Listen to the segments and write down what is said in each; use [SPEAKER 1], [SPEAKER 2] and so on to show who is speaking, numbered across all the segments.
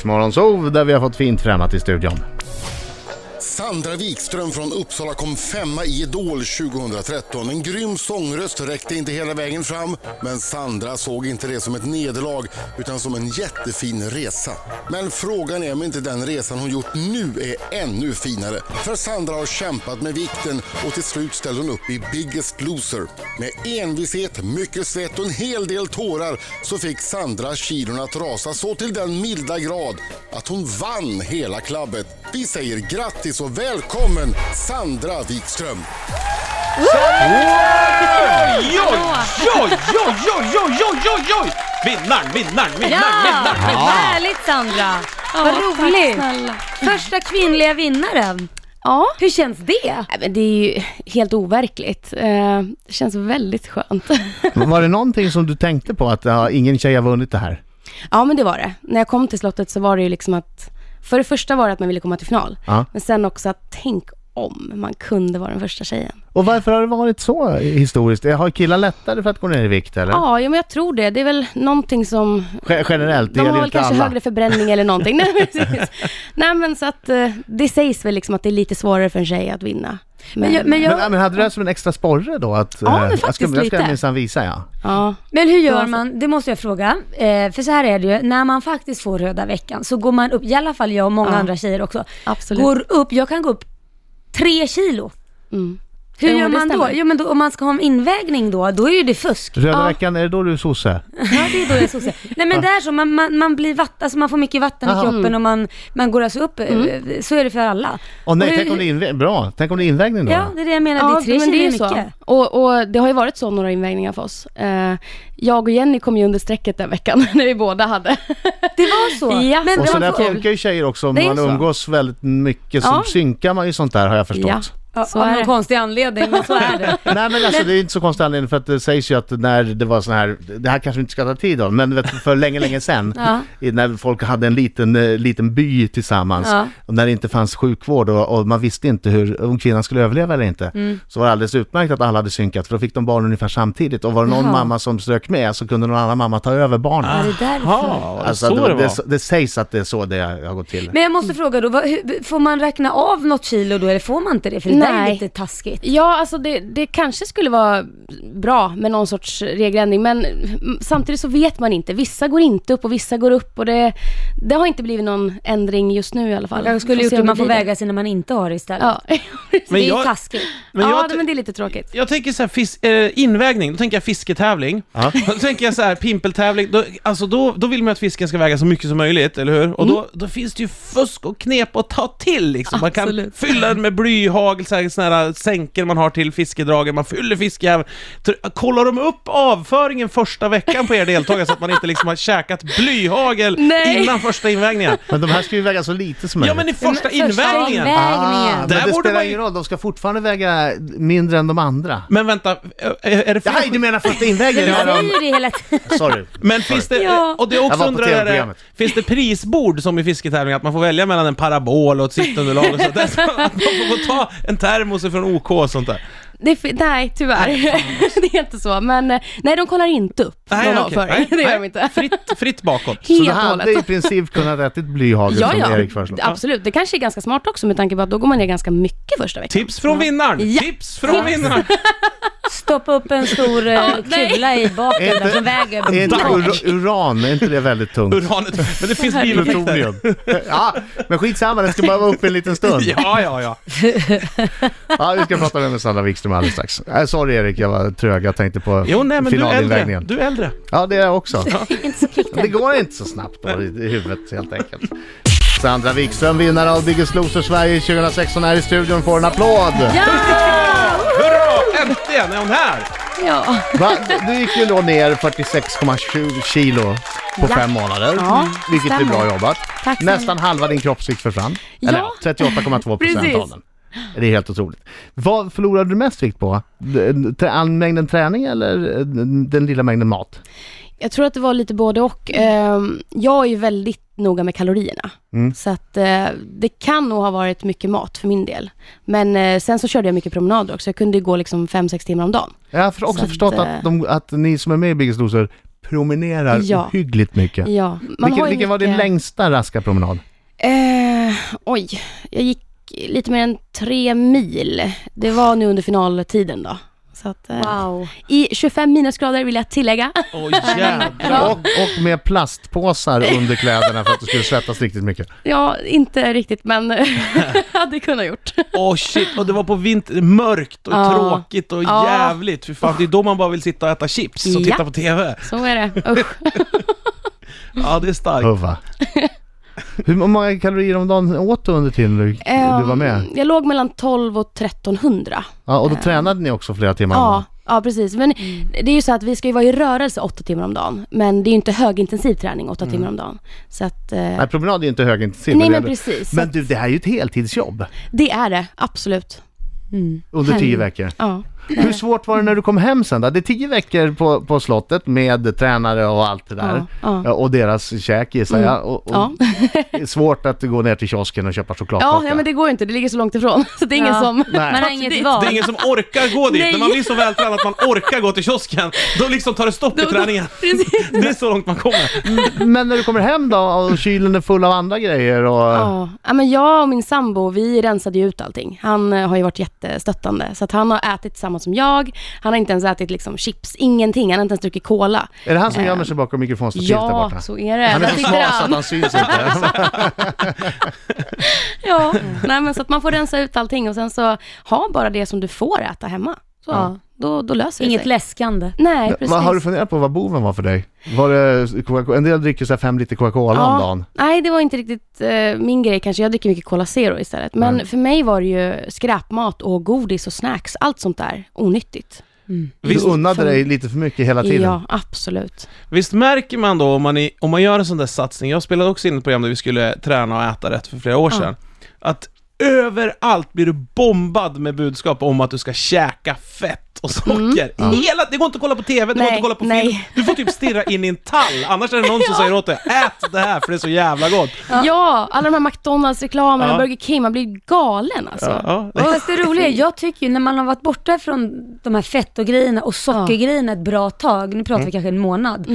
[SPEAKER 1] Riksmorgonsov där vi har fått fint främmat i studion.
[SPEAKER 2] Sandra Wikström från Uppsala kom femma i Idol 2013. En grym sångröst räckte inte hela vägen fram, men Sandra såg inte det som ett nederlag utan som en jättefin resa. Men frågan är om inte den resan hon gjort nu är ännu finare. För Sandra har kämpat med vikten och till slut ställde hon upp i Biggest Loser. Med envishet, mycket svett och en hel del tårar så fick Sandra kilon att rasa så till den milda grad att hon vann hela klabbet. Vi säger grattis och välkommen Sandra Wikström!
[SPEAKER 3] Oj, oj, oj, oj, oj, oj, oj, oj, oj! Vinnaren, vinnaren,
[SPEAKER 4] Ja!
[SPEAKER 3] vinnaren, vinnaren!
[SPEAKER 4] Härligt Sandra! Vad roligt! Första kvinnliga vinnaren.
[SPEAKER 5] Ja.
[SPEAKER 4] Hur känns det?
[SPEAKER 5] Nej, men det är ju helt overkligt. Eh, Det känns väldigt skönt.
[SPEAKER 1] Var det någonting som du tänkte på att ja, ingen tjej har vunnit det här?
[SPEAKER 5] ja, men det var det. När jag kom till slottet så var det ju liksom att... För det första var det att man ville komma till final.
[SPEAKER 1] Ja.
[SPEAKER 5] Men sen också att tänk om man kunde vara den första tjejen.
[SPEAKER 1] Och varför har det varit så historiskt? Har killar lättare för att gå ner i vikt eller?
[SPEAKER 5] Ja, ja men jag tror det. Det är väl någonting som...
[SPEAKER 1] Ge- Generellt, det
[SPEAKER 5] De har
[SPEAKER 1] gäller
[SPEAKER 5] väl
[SPEAKER 1] inte
[SPEAKER 5] kanske
[SPEAKER 1] alla.
[SPEAKER 5] högre förbränning eller någonting. Nej, precis. Nej, men så att eh, det sägs väl liksom att det är lite svårare för en tjej att vinna.
[SPEAKER 4] Men, jag, men,
[SPEAKER 1] Men,
[SPEAKER 4] jag,
[SPEAKER 1] ja, men hade du det som en extra sporre då? Att,
[SPEAKER 5] Ja, men
[SPEAKER 1] eh, jag
[SPEAKER 5] faktiskt
[SPEAKER 1] ska, jag ska
[SPEAKER 5] lite.
[SPEAKER 1] minsann visa ja.
[SPEAKER 5] ja.
[SPEAKER 4] men hur gör
[SPEAKER 5] Ja,
[SPEAKER 4] man? Det måste jag fråga. Eh, för så här är det ju, när man faktiskt får röda veckan så går man upp, i alla fall jag och många
[SPEAKER 5] Ja.
[SPEAKER 4] andra tjejer också,
[SPEAKER 5] Absolut.
[SPEAKER 4] går upp, jag kan gå upp tre kilo.
[SPEAKER 5] Mm.
[SPEAKER 4] Hur
[SPEAKER 5] Jo,
[SPEAKER 4] gör
[SPEAKER 5] men det
[SPEAKER 4] man då?
[SPEAKER 5] stämmer.
[SPEAKER 4] Jo men då, om man ska ha en invägning då, då är ju det fusk.
[SPEAKER 1] Röda
[SPEAKER 5] Ja.
[SPEAKER 1] veckan, är det då du är sosse?
[SPEAKER 4] Ja, det är då jag är sosse. Nej men det är så, man, man, man blir vatt, alltså man får mycket vatten
[SPEAKER 1] Aha.
[SPEAKER 4] i kroppen och man, man går alltså upp. eh, Så är det för alla.
[SPEAKER 1] Åh nej,
[SPEAKER 4] Och hur-
[SPEAKER 1] tänk om det är invä- Bra, tänk om det är invägning då?
[SPEAKER 4] Ja, det är det jag menar. det är tre
[SPEAKER 5] men
[SPEAKER 4] kilo
[SPEAKER 5] ju
[SPEAKER 4] är mycket.
[SPEAKER 5] Och, och det har ju varit så några invägningar för oss. Eh, jag och Jenny kom ju under strecket den veckan när vi båda hade.
[SPEAKER 4] Det var så.
[SPEAKER 5] Ja.
[SPEAKER 4] Men
[SPEAKER 1] Och så
[SPEAKER 4] det var
[SPEAKER 1] där
[SPEAKER 4] så kul.
[SPEAKER 1] funkar ju tjejer också, om
[SPEAKER 5] Det är
[SPEAKER 1] man
[SPEAKER 5] så.
[SPEAKER 1] umgås väldigt mycket så
[SPEAKER 5] Ja.
[SPEAKER 1] synkar man ju sånt där har jag förstått.
[SPEAKER 5] ja, så
[SPEAKER 4] av
[SPEAKER 5] är
[SPEAKER 4] någon
[SPEAKER 5] det.
[SPEAKER 4] konstig anledning, men så är det.
[SPEAKER 1] Nej men alltså det är inte så konstig anledning för att det sägs ju att när det var sån här, det här kanske vi inte ska ta tid om, men vet, du, för länge, länge sedan
[SPEAKER 4] Ja.
[SPEAKER 1] i- när folk hade en liten, eh, liten by tillsammans
[SPEAKER 4] Ja.
[SPEAKER 1] och när det inte fanns sjukvård och, och man visste inte hur, om kvinnan skulle överleva eller inte,
[SPEAKER 4] Mm.
[SPEAKER 1] så var det alldeles utmärkt att alla hade synkat för då fick de barn ungefär samtidigt och var det någon
[SPEAKER 4] Jaha.
[SPEAKER 1] mamma som strök med så kunde någon annan mamma ta över barnet.
[SPEAKER 4] Ja, det är därför.
[SPEAKER 3] Ja,
[SPEAKER 1] Alltså,
[SPEAKER 3] så Ah, det, var.
[SPEAKER 1] det, det, det sägs att det är så det har gått till.
[SPEAKER 4] Men jag måste fråga då, vad, hur, får man räkna av något kilo då eller får man inte det? För det där är
[SPEAKER 5] Nej.
[SPEAKER 4] lite taskigt.
[SPEAKER 5] Ja, alltså det, det kanske skulle vara bra med någon sorts regeländring, men mm, samtidigt så vet man inte. Vissa går inte upp och vissa går upp och det, det har inte blivit någon ändring just nu i alla fall.
[SPEAKER 4] Man kanske skulle
[SPEAKER 5] Får
[SPEAKER 4] gjort
[SPEAKER 5] se
[SPEAKER 4] det,
[SPEAKER 5] om
[SPEAKER 4] man får
[SPEAKER 5] blir det.
[SPEAKER 4] väga sig när man inte har det istället.
[SPEAKER 5] Ja,
[SPEAKER 4] det är
[SPEAKER 3] jag-
[SPEAKER 4] ju taskigt.
[SPEAKER 3] Men
[SPEAKER 5] ja
[SPEAKER 3] jag,
[SPEAKER 5] men det är lite tråkigt.
[SPEAKER 3] jag tänker så här, fis, eh, invägning, då tänker jag fisketävling.
[SPEAKER 1] Ja.
[SPEAKER 3] Då tänker jag så här, pimpeltävling, då, alltså då, då vill man ju att fisken ska väga så mycket som möjligt, eller hur? Och
[SPEAKER 5] Mm.
[SPEAKER 3] då, då finns det ju fusk och knep att ta till liksom. Man kan
[SPEAKER 5] Absolut.
[SPEAKER 3] fylla den med blyhagel, så här, såna här sänker man har till fiskedragen, man fyller fiskjäveln. Tr- Kollar de upp avföringen första veckan på er deltagare så att man inte liksom har käkat blyhagel
[SPEAKER 5] Nej.
[SPEAKER 3] innan första invägningen?
[SPEAKER 1] Men de här ska ju väga så lite som
[SPEAKER 3] Ja
[SPEAKER 1] möjligt.
[SPEAKER 3] men i första
[SPEAKER 4] Men första
[SPEAKER 3] invägningen!
[SPEAKER 4] inväg-
[SPEAKER 1] Ah, men
[SPEAKER 3] Där
[SPEAKER 1] det
[SPEAKER 3] borde
[SPEAKER 1] spelar
[SPEAKER 3] man ju-
[SPEAKER 1] ingen roll, de ska fortfarande väga mindre än de andra.
[SPEAKER 3] Men vänta, ö- ö- är det för...
[SPEAKER 1] Nej, du menar första invägningen?
[SPEAKER 4] Vi
[SPEAKER 1] Ja,
[SPEAKER 4] säger ju
[SPEAKER 1] de-
[SPEAKER 4] det hela tiden.
[SPEAKER 1] Sorry.
[SPEAKER 3] Men finns det,
[SPEAKER 4] Ja.
[SPEAKER 3] och det jag
[SPEAKER 1] Jag
[SPEAKER 3] också
[SPEAKER 1] var på
[SPEAKER 3] undrar är, det,
[SPEAKER 1] TV-programmet.
[SPEAKER 3] finns det prisbord som i fisketävling att man får välja mellan en parabol och ett sittunderlag och sånt där? Så att man får ta en termos från OK och sånt där.
[SPEAKER 5] Det är, fi- nej, tyvärr. det är inte så. Men eh, nej, de kollar inte upp någon
[SPEAKER 3] okej.
[SPEAKER 5] avföring. Det gör de inte.
[SPEAKER 3] Fritt, fritt bakåt.
[SPEAKER 1] Så
[SPEAKER 5] Helt
[SPEAKER 1] du
[SPEAKER 5] och
[SPEAKER 1] hade i
[SPEAKER 5] hållet.
[SPEAKER 1] princip kunnat ätit blyhagel
[SPEAKER 5] Ja,
[SPEAKER 1] som Erik
[SPEAKER 5] ja.
[SPEAKER 1] föreslog?
[SPEAKER 5] Absolut. Det kanske är ganska smart också med tanke på att då går man ner ganska mycket första veckan.
[SPEAKER 3] Tips från vinnaren!
[SPEAKER 5] Ja.
[SPEAKER 3] Tips från vinnaren!
[SPEAKER 4] Stoppa upp en stor eh,
[SPEAKER 5] nej.
[SPEAKER 4] kula i baken där som väger
[SPEAKER 1] Är inte
[SPEAKER 4] bak.
[SPEAKER 1] ur, uran, är inte det väldigt tungt?
[SPEAKER 3] Uranet. Men det finns bieffekter.
[SPEAKER 1] Plutonium. Ja, men skitsamma, den ska bara vara uppe en liten stund.
[SPEAKER 3] Ja, ja, ja.
[SPEAKER 1] Ja, vi ska prata med Sandra Wikström alldeles strax. Äh, sorry Erik, jag var trög. Jag tänkte på
[SPEAKER 3] Jo, nej men du är äldre.
[SPEAKER 1] finalinvägningen.
[SPEAKER 3] Du är äldre.
[SPEAKER 1] Ja, det är jag också. Men det går inte så snabbt då i i huvudet helt enkelt. Sandra Wikström, vinnare av Biggest Loser Sverige 2016, är i studion. Får en applåd!
[SPEAKER 3] Hurra! Äntligen är hon här!
[SPEAKER 5] Ja.
[SPEAKER 1] Va? Du gick ju då ner 46,7 kilo på fem månader, mm.
[SPEAKER 5] Ja,
[SPEAKER 1] vilket är
[SPEAKER 5] stämmer.
[SPEAKER 1] bra jobbat.
[SPEAKER 5] Tack så
[SPEAKER 1] Nästan halva din kroppsvikt försvann. Eller ja, 38,2 procent av
[SPEAKER 5] Precis.
[SPEAKER 1] den. Det är helt otroligt. Vad förlorade du mest vikt på? Den- trä- all- Mängden träning eller eh, den lilla mängden mat?
[SPEAKER 5] Jag tror att det var lite både och. Ehm, Jag är ju väldigt noga med kalorierna.
[SPEAKER 1] Mm.
[SPEAKER 5] Så att eh, det kan nog ha varit mycket mat för min del. Men eh, sen så körde jag mycket promenader också. Jag kunde ju gå liksom 5-6 timmar om dagen.
[SPEAKER 1] Jag har för- också
[SPEAKER 5] Så att,
[SPEAKER 1] förstått att,
[SPEAKER 5] eh,
[SPEAKER 1] de, att ni som är med i Biggest Loser promenerar
[SPEAKER 5] Ja.
[SPEAKER 1] ohyggligt mycket.
[SPEAKER 5] Ja, man
[SPEAKER 1] vilken
[SPEAKER 5] ju
[SPEAKER 1] vilken var din
[SPEAKER 5] mycket-
[SPEAKER 1] längsta raska-promenad?
[SPEAKER 5] Eh, oj, jag gick lite mer än tre mil. Det var nu under finaltiden då. Så att, eh,
[SPEAKER 4] Wow.
[SPEAKER 5] I 25 minusgrader vill jag tillägga. Ah,
[SPEAKER 3] Åh jävlar.
[SPEAKER 1] Och, och med plastpåsar under kläderna för att du skulle svettas riktigt mycket.
[SPEAKER 5] Ja, inte riktigt men hade kunnat gjort.
[SPEAKER 3] Åh shit, och det var på vinter, mörkt och
[SPEAKER 5] Ja.
[SPEAKER 3] tråkigt och
[SPEAKER 5] Ja.
[SPEAKER 3] jävligt. Fy fan, det är då man bara vill sitta och äta chips och
[SPEAKER 5] Ja.
[SPEAKER 3] titta på TV.
[SPEAKER 5] Så är det. Usch.
[SPEAKER 3] Ja, det är starkt.
[SPEAKER 1] Huvva. Hur många kalorier om dagen åt du under tiden du, du var med?
[SPEAKER 5] Ehm, Jag låg mellan 12 och 1300.
[SPEAKER 1] Ja, och då tränade ni också flera timmar om dagen.
[SPEAKER 5] eh, Ja, ja precis. Men det är ju så att vi ska ju vara i rörelse åtta timmar om dagen. Men det är ju inte högintensiv träning åtta timmar om dagen. Så att, eh,
[SPEAKER 1] Mm. Nej, promenad är ju inte högintensiv.
[SPEAKER 5] nej men
[SPEAKER 1] det är det.
[SPEAKER 5] precis.
[SPEAKER 1] men du, det här är ju ett heltidsjobb
[SPEAKER 5] Det är det, absolut.
[SPEAKER 1] under tio veckor.
[SPEAKER 5] Ja.
[SPEAKER 1] Hur svårt var det när du kom hem sen då? Det är tio veckor på, på slottet med tränare och allt det där.
[SPEAKER 5] Ja, ja.
[SPEAKER 1] Och deras käk gissar jag. Och, och
[SPEAKER 5] Ja.
[SPEAKER 1] det är svårt att gå ner till kiosken och köpa
[SPEAKER 5] Ja,
[SPEAKER 1] chokladkaka.
[SPEAKER 5] ja, men det går ju inte. Det ligger så långt ifrån. Så det är ingen
[SPEAKER 4] Ja.
[SPEAKER 5] som...
[SPEAKER 1] Nej.
[SPEAKER 4] Man har
[SPEAKER 5] Det-
[SPEAKER 4] inget val.
[SPEAKER 3] Det är ingen som orkar gå dit.
[SPEAKER 5] Nej.
[SPEAKER 3] När man blir så vältränad att man orkar gå till kiosken, då liksom tar det stopp i
[SPEAKER 5] Då- då-
[SPEAKER 3] träningen.
[SPEAKER 5] Precis.
[SPEAKER 3] Det är så långt man kommer.
[SPEAKER 1] Men när du kommer hem då och kylen är full av andra grejer och...
[SPEAKER 5] Ja. ja, men jag och min sambo, vi rensade ju ut allting. Han eh, har ju varit jättestöttande. Så att han har ätit samma som jag. Han har inte ens ätit liksom chips, ingenting. Han har inte ens druckit cola.
[SPEAKER 1] Är det han som gömmer sig bakom mikrofonstativet där
[SPEAKER 5] Eh. Ja,
[SPEAKER 1] borta?
[SPEAKER 5] så är det.
[SPEAKER 1] Han är
[SPEAKER 5] Där
[SPEAKER 1] så
[SPEAKER 5] sitter
[SPEAKER 1] smal så
[SPEAKER 5] han.
[SPEAKER 1] att han syns inte.
[SPEAKER 5] Ja, nej men så att man får rensa ut allting och sen så ha bara det som du får äta hemma. Så,
[SPEAKER 4] Ja.
[SPEAKER 5] då, då löser det
[SPEAKER 4] Inget
[SPEAKER 5] sig.
[SPEAKER 4] läskande.
[SPEAKER 5] Nej, precis.
[SPEAKER 1] vad har du funderat på vad boven var för dig? Var det Coca-Cola? En del dricker så här fem liter Coca-Cola om dagen.
[SPEAKER 5] Nej, det var inte riktigt eh, min grej kanske. Jag dricker mycket Cola Zero istället. Men
[SPEAKER 1] Mm.
[SPEAKER 5] för mig var det ju skräpmat och godis och snacks. Allt sånt där onyttigt.
[SPEAKER 1] Du unnade dig lite för mycket hela tiden.
[SPEAKER 5] Ja, absolut.
[SPEAKER 3] Visst märker man då om man, i, om man gör en sån där satsning, jag spelade också in ett program där vi skulle träna och äta rätt för flera år sedan, att överallt blir du bombad med budskap om att du ska käka fett och socker. Hela, det går inte att kolla på TV, det går
[SPEAKER 5] Nej,
[SPEAKER 3] inte att kolla på film,
[SPEAKER 5] nej.
[SPEAKER 3] du får typ stirra in i en tall, annars är det någon som säger åt dig ät det här för det är så jävla gott.
[SPEAKER 5] Ja, alla de här McDonalds-reklamerna,
[SPEAKER 3] Ja.
[SPEAKER 5] Burger King, man blir galen alltså.
[SPEAKER 3] Ja, ja.
[SPEAKER 4] Fast det roliga är, jag tycker ju när man har varit borta från de här fett och grejerna och sockergrejerna ett bra tag, nu
[SPEAKER 5] Mm.
[SPEAKER 4] pratar vi kanske en månad,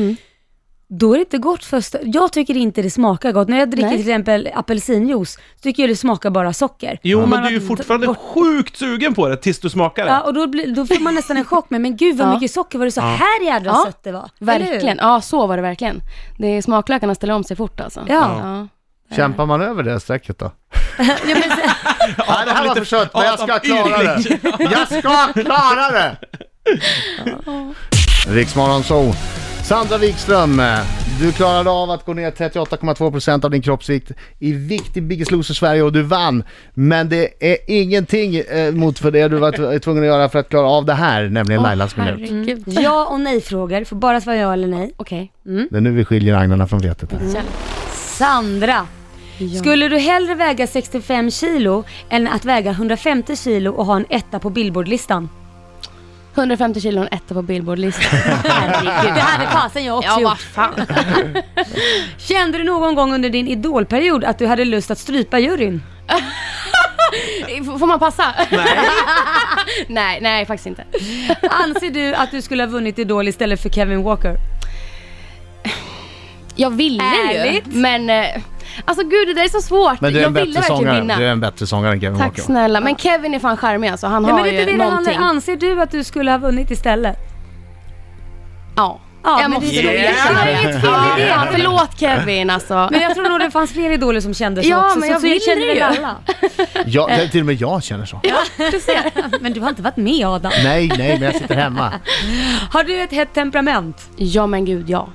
[SPEAKER 4] då är det inte gott först. Jag tycker inte det smakar gott. När jag dricker
[SPEAKER 5] Nej.
[SPEAKER 4] till exempel apelsinjuice, så tycker jag det smakar bara socker.
[SPEAKER 3] Jo, men
[SPEAKER 4] Man
[SPEAKER 3] du är ju
[SPEAKER 4] har-
[SPEAKER 3] fortfarande sjukt sugen på det tills du smakar det.
[SPEAKER 4] Ja, och då, blir, då får man nästan en chock, men men gud vad
[SPEAKER 5] Ja.
[SPEAKER 4] mycket socker var det så här jädra
[SPEAKER 5] Ja.
[SPEAKER 4] sött det var. Eller hur?
[SPEAKER 5] Verkligen. Ja, så var det verkligen. Det är smaklökarna ställer om sig fort alltså.
[SPEAKER 4] Ja.
[SPEAKER 5] ja.
[SPEAKER 1] Eh. Kämpar man över det strecket då?
[SPEAKER 4] Ja, men, så-
[SPEAKER 1] Nej, det här var för kött, men jag ska
[SPEAKER 3] Adam
[SPEAKER 1] klara det.
[SPEAKER 3] Yrling.
[SPEAKER 1] Jag ska klara det! Riksmorgon Zoo. Sandra Wikström, eh, du klarade av att gå ner 38,2% av din kroppsvikt i vikt i Biggest Loser Sverige och du vann. Men det är ingenting eh, mot för det du var tv- tvungen att göra för att klara av det här, nämligen Lailas minut.
[SPEAKER 5] Herregud.
[SPEAKER 4] ja och nej-frågor, får bara svara ja eller nej.
[SPEAKER 5] Okej.
[SPEAKER 1] Det är nu vi skiljer agnarna från vetet.
[SPEAKER 5] Mm.
[SPEAKER 4] Sandra, skulle du hellre väga 65 kilo än att väga 150 kilo och ha en etta på Billboardlistan?
[SPEAKER 5] 150 kilo och en etta på Billboard-listan.
[SPEAKER 4] Herregud, det hade fasen jag också
[SPEAKER 5] Ja, vad
[SPEAKER 4] gjort.
[SPEAKER 5] fan.
[SPEAKER 4] Kände du någon gång under din idolperiod att du hade lust att strypa juryn?
[SPEAKER 5] F- Får man passa? Nej. nej, nej faktiskt inte.
[SPEAKER 4] Anser du att du skulle ha vunnit Idol istället för Kevin Walker?
[SPEAKER 5] Jag ville
[SPEAKER 4] Ärligt?
[SPEAKER 5] ju. Men, eh, alltså gud det där är så svårt.
[SPEAKER 1] Men du är
[SPEAKER 5] jag
[SPEAKER 1] en bättre
[SPEAKER 5] ville
[SPEAKER 1] sångare,
[SPEAKER 5] verkligen
[SPEAKER 1] du är
[SPEAKER 5] vinna.
[SPEAKER 1] en bättre sångare än Kevin
[SPEAKER 5] Tack
[SPEAKER 1] Walker.
[SPEAKER 5] snälla. Men Kevin är fan charmig alltså. Han
[SPEAKER 4] Ja, men
[SPEAKER 5] har
[SPEAKER 4] det är
[SPEAKER 5] ju
[SPEAKER 4] inte det det handlar
[SPEAKER 5] någonting.
[SPEAKER 4] om. Anser du att du skulle ha vunnit istället?
[SPEAKER 5] Ja.
[SPEAKER 4] Ja,
[SPEAKER 5] jag
[SPEAKER 4] men
[SPEAKER 5] måste
[SPEAKER 4] det-
[SPEAKER 5] nog
[SPEAKER 4] det är
[SPEAKER 5] erkänna det.
[SPEAKER 4] jävligt fel
[SPEAKER 5] Ja,
[SPEAKER 4] idé.
[SPEAKER 5] ja, förlåt Kevin alltså.
[SPEAKER 4] Men jag tror nog det fanns fler idoler som kände så
[SPEAKER 5] Ja,
[SPEAKER 4] också,
[SPEAKER 5] men
[SPEAKER 4] så,
[SPEAKER 5] jag
[SPEAKER 4] så jag
[SPEAKER 5] vill
[SPEAKER 4] känner
[SPEAKER 5] det
[SPEAKER 4] väl
[SPEAKER 5] ju.
[SPEAKER 4] alla.
[SPEAKER 1] Ja, det- till och med jag känner så.
[SPEAKER 4] Men du har inte varit med Adam.
[SPEAKER 1] Nej, nej, men jag sitter hemma.
[SPEAKER 4] Har du ett hett temperament?
[SPEAKER 5] Ja men gud ja.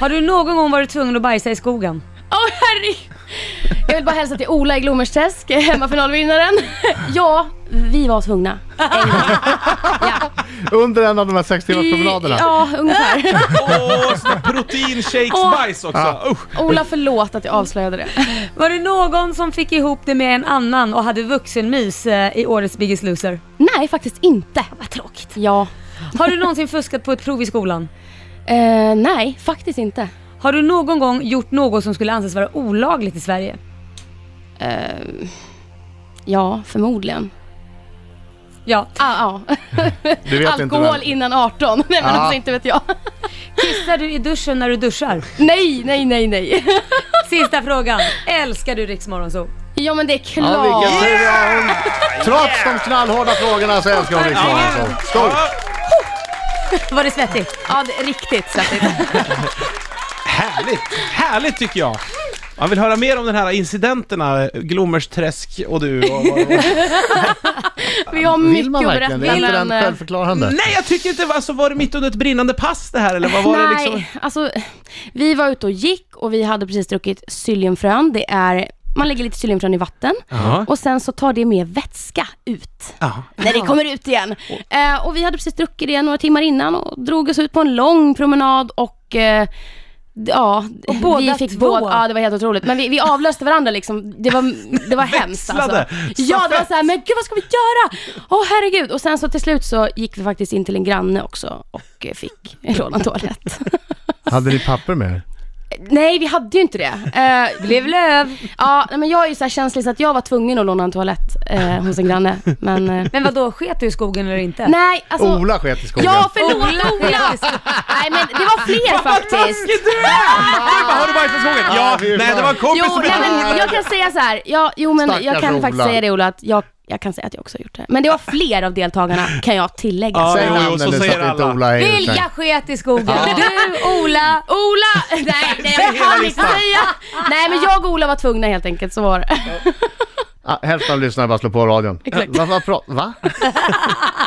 [SPEAKER 4] Har du någon gång varit tvungen att bajsa i skogen?
[SPEAKER 5] Åh herregud. Jag vill bara hälsa till Ola i Glommersträsk, eh, hemmafinalvinnaren. Ja, vi var tvungna. En gång. Ja.
[SPEAKER 1] Under en av de här sex timmars promenaderna.
[SPEAKER 5] Ja, ungefär.
[SPEAKER 3] Åh, sån där proteinshakesbajs också! Usch.
[SPEAKER 5] Ola förlåt att jag avslöjade det.
[SPEAKER 4] Var det någon som fick ihop det med en annan och hade vuxenmys eh, i årets Biggest Loser?
[SPEAKER 5] Nej, faktiskt inte. Vad tråkigt. Ja.
[SPEAKER 4] Har du någonsin fuskat på ett prov i skolan?
[SPEAKER 5] Eh, nej, faktiskt inte.
[SPEAKER 4] Har du någon gång gjort något som skulle anses vara olagligt i Sverige?
[SPEAKER 5] Ja, förmodligen.
[SPEAKER 4] Ja.
[SPEAKER 5] Ah, ah.
[SPEAKER 1] Du vet inte
[SPEAKER 5] Alkohol
[SPEAKER 1] vem. Ah.
[SPEAKER 5] innan 18. Nej men alltså inte vet jag.
[SPEAKER 4] Kissar du i duschen när du duschar?
[SPEAKER 5] Nej, nej, nej, nej.
[SPEAKER 4] Sista frågan. Älskar du Riks Morgonzoo?
[SPEAKER 5] Ja men det är
[SPEAKER 1] Ja, vilken
[SPEAKER 5] klart.
[SPEAKER 1] tur vi har hon. Trots de knallhårda frågorna så älskar hon Rix Morgonzoo. Stort!
[SPEAKER 4] Var det svettigt?
[SPEAKER 5] Ja, det är riktigt svettigt.
[SPEAKER 3] Härligt! Härligt tycker jag! Man vill höra mer om den här incidenterna, Glommersträsk och du och, och, och.
[SPEAKER 5] Vi har
[SPEAKER 1] Vill
[SPEAKER 5] mycket
[SPEAKER 1] man
[SPEAKER 5] att
[SPEAKER 1] verkligen det? Är inte
[SPEAKER 5] berätta.
[SPEAKER 1] den
[SPEAKER 5] Men, eh,
[SPEAKER 1] självförklarande?
[SPEAKER 3] Nej jag tycker inte, alltså var det mitt under ett brinnande pass det här eller vad var det
[SPEAKER 5] Nej,
[SPEAKER 3] liksom?
[SPEAKER 5] alltså vi var ute och gick och vi hade precis druckit syljenfrön. Det är, man lägger lite syljenfrön i vatten
[SPEAKER 3] Ja.
[SPEAKER 5] och sen så tar det med vätska ut.
[SPEAKER 3] Ja.
[SPEAKER 5] När det kommer ut igen. Eh, och vi hade precis druckit det några timmar innan och drog oss ut på en lång promenad och eh, d- Ja, och
[SPEAKER 4] båda
[SPEAKER 5] vi fick
[SPEAKER 4] två.
[SPEAKER 5] båda, ja det var helt otroligt. Men vi, vi avlöste varandra liksom, det var, det var hemskt alltså.
[SPEAKER 3] Växlade.
[SPEAKER 5] Ja, det var såhär, men gud vad ska vi göra? Åh herregud. Och sen så till slut så gick vi faktiskt in till en granne också och eh, fick låna toalett.
[SPEAKER 1] Hade ni papper med er?
[SPEAKER 5] Nej, vi hade ju inte det. Eh, blev löv. Ja, nej, men jag är ju så här känslig så att jag var tvungen att låna en toalett eh, hos en granne. Men, eh,
[SPEAKER 4] Men vadå, sket du i skogen eller inte?
[SPEAKER 5] nej, alltså.
[SPEAKER 1] Ola sket i skogen.
[SPEAKER 5] Ja, förlåt
[SPEAKER 4] Ola.
[SPEAKER 5] Ola! Nej men det var fler faktiskt.
[SPEAKER 3] Taskig du är! Du bara, Har du bajsat i skogen? Ja,
[SPEAKER 1] fy fan.
[SPEAKER 3] nej det var en kompis
[SPEAKER 5] Jo,
[SPEAKER 3] som
[SPEAKER 5] nej, men jag kan säga så här. Ja, jo men jag
[SPEAKER 1] Stackars
[SPEAKER 5] kan faktiskt
[SPEAKER 1] Ola.
[SPEAKER 5] säga det Ola, att jag, jag kan säga att jag också har gjort det. Men det var fler av deltagarna, kan jag tillägga.
[SPEAKER 3] Ja,
[SPEAKER 1] Säg
[SPEAKER 3] jo, jo,
[SPEAKER 1] namnen
[SPEAKER 3] så
[SPEAKER 1] nu så
[SPEAKER 3] säger
[SPEAKER 1] att inte
[SPEAKER 3] alla.
[SPEAKER 1] Ola är
[SPEAKER 4] Vilja sket i skogen? Du, Ola.
[SPEAKER 5] Ola! Nej, nej jag
[SPEAKER 3] Hela
[SPEAKER 5] kan inte
[SPEAKER 3] listan.
[SPEAKER 5] säga. Nej men jag och Ola var tvungna helt enkelt, så var det.
[SPEAKER 1] Ah, hälften av lyssnarna bara slår på radion.
[SPEAKER 5] Exakt.
[SPEAKER 1] Va, va, pra, va?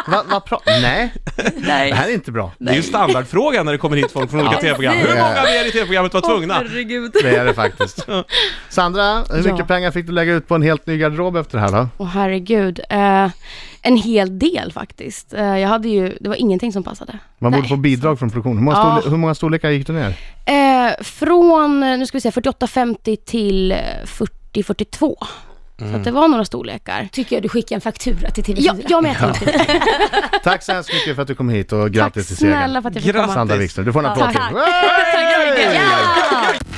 [SPEAKER 1] va, va pra, nej, det
[SPEAKER 5] Nej.
[SPEAKER 1] här är inte bra.
[SPEAKER 3] Det är ju standardfrågan när det kommer hit folk från olika
[SPEAKER 1] Ja.
[SPEAKER 3] tv-program. Hur
[SPEAKER 1] Precis.
[SPEAKER 3] många av er i tv-programmet var tvungna?
[SPEAKER 1] Det är det faktiskt. Sandra, hur mycket
[SPEAKER 5] Ja.
[SPEAKER 1] pengar fick du lägga ut på en helt ny garderob efter det här då?
[SPEAKER 5] Åh herregud. Eh, en hel del faktiskt. Eh, jag hade ju, det var ingenting som passade.
[SPEAKER 1] Man borde
[SPEAKER 5] Nej.
[SPEAKER 1] få bidrag från produktionen. Hur många,
[SPEAKER 5] Ja.
[SPEAKER 1] storle- hur många storlekar gick du ner?
[SPEAKER 5] Eh, från, eh, nu ska vi se, 48,50 till eh, 40,42.
[SPEAKER 1] Mm.
[SPEAKER 5] Så att det var några storlekar.
[SPEAKER 4] Tycker jag du skickar en faktura till TV4.
[SPEAKER 5] Ja, ja men jag tänkte
[SPEAKER 1] Tack så hemskt mycket för att du kom hit och
[SPEAKER 5] Tack
[SPEAKER 1] grattis till segern.
[SPEAKER 5] snälla för att jag fick
[SPEAKER 3] Grattis.
[SPEAKER 5] komma.
[SPEAKER 1] Sandra Wikström, du får en applåd
[SPEAKER 5] Tack.
[SPEAKER 1] till.
[SPEAKER 5] Tack, tack, tack.
[SPEAKER 4] Ja!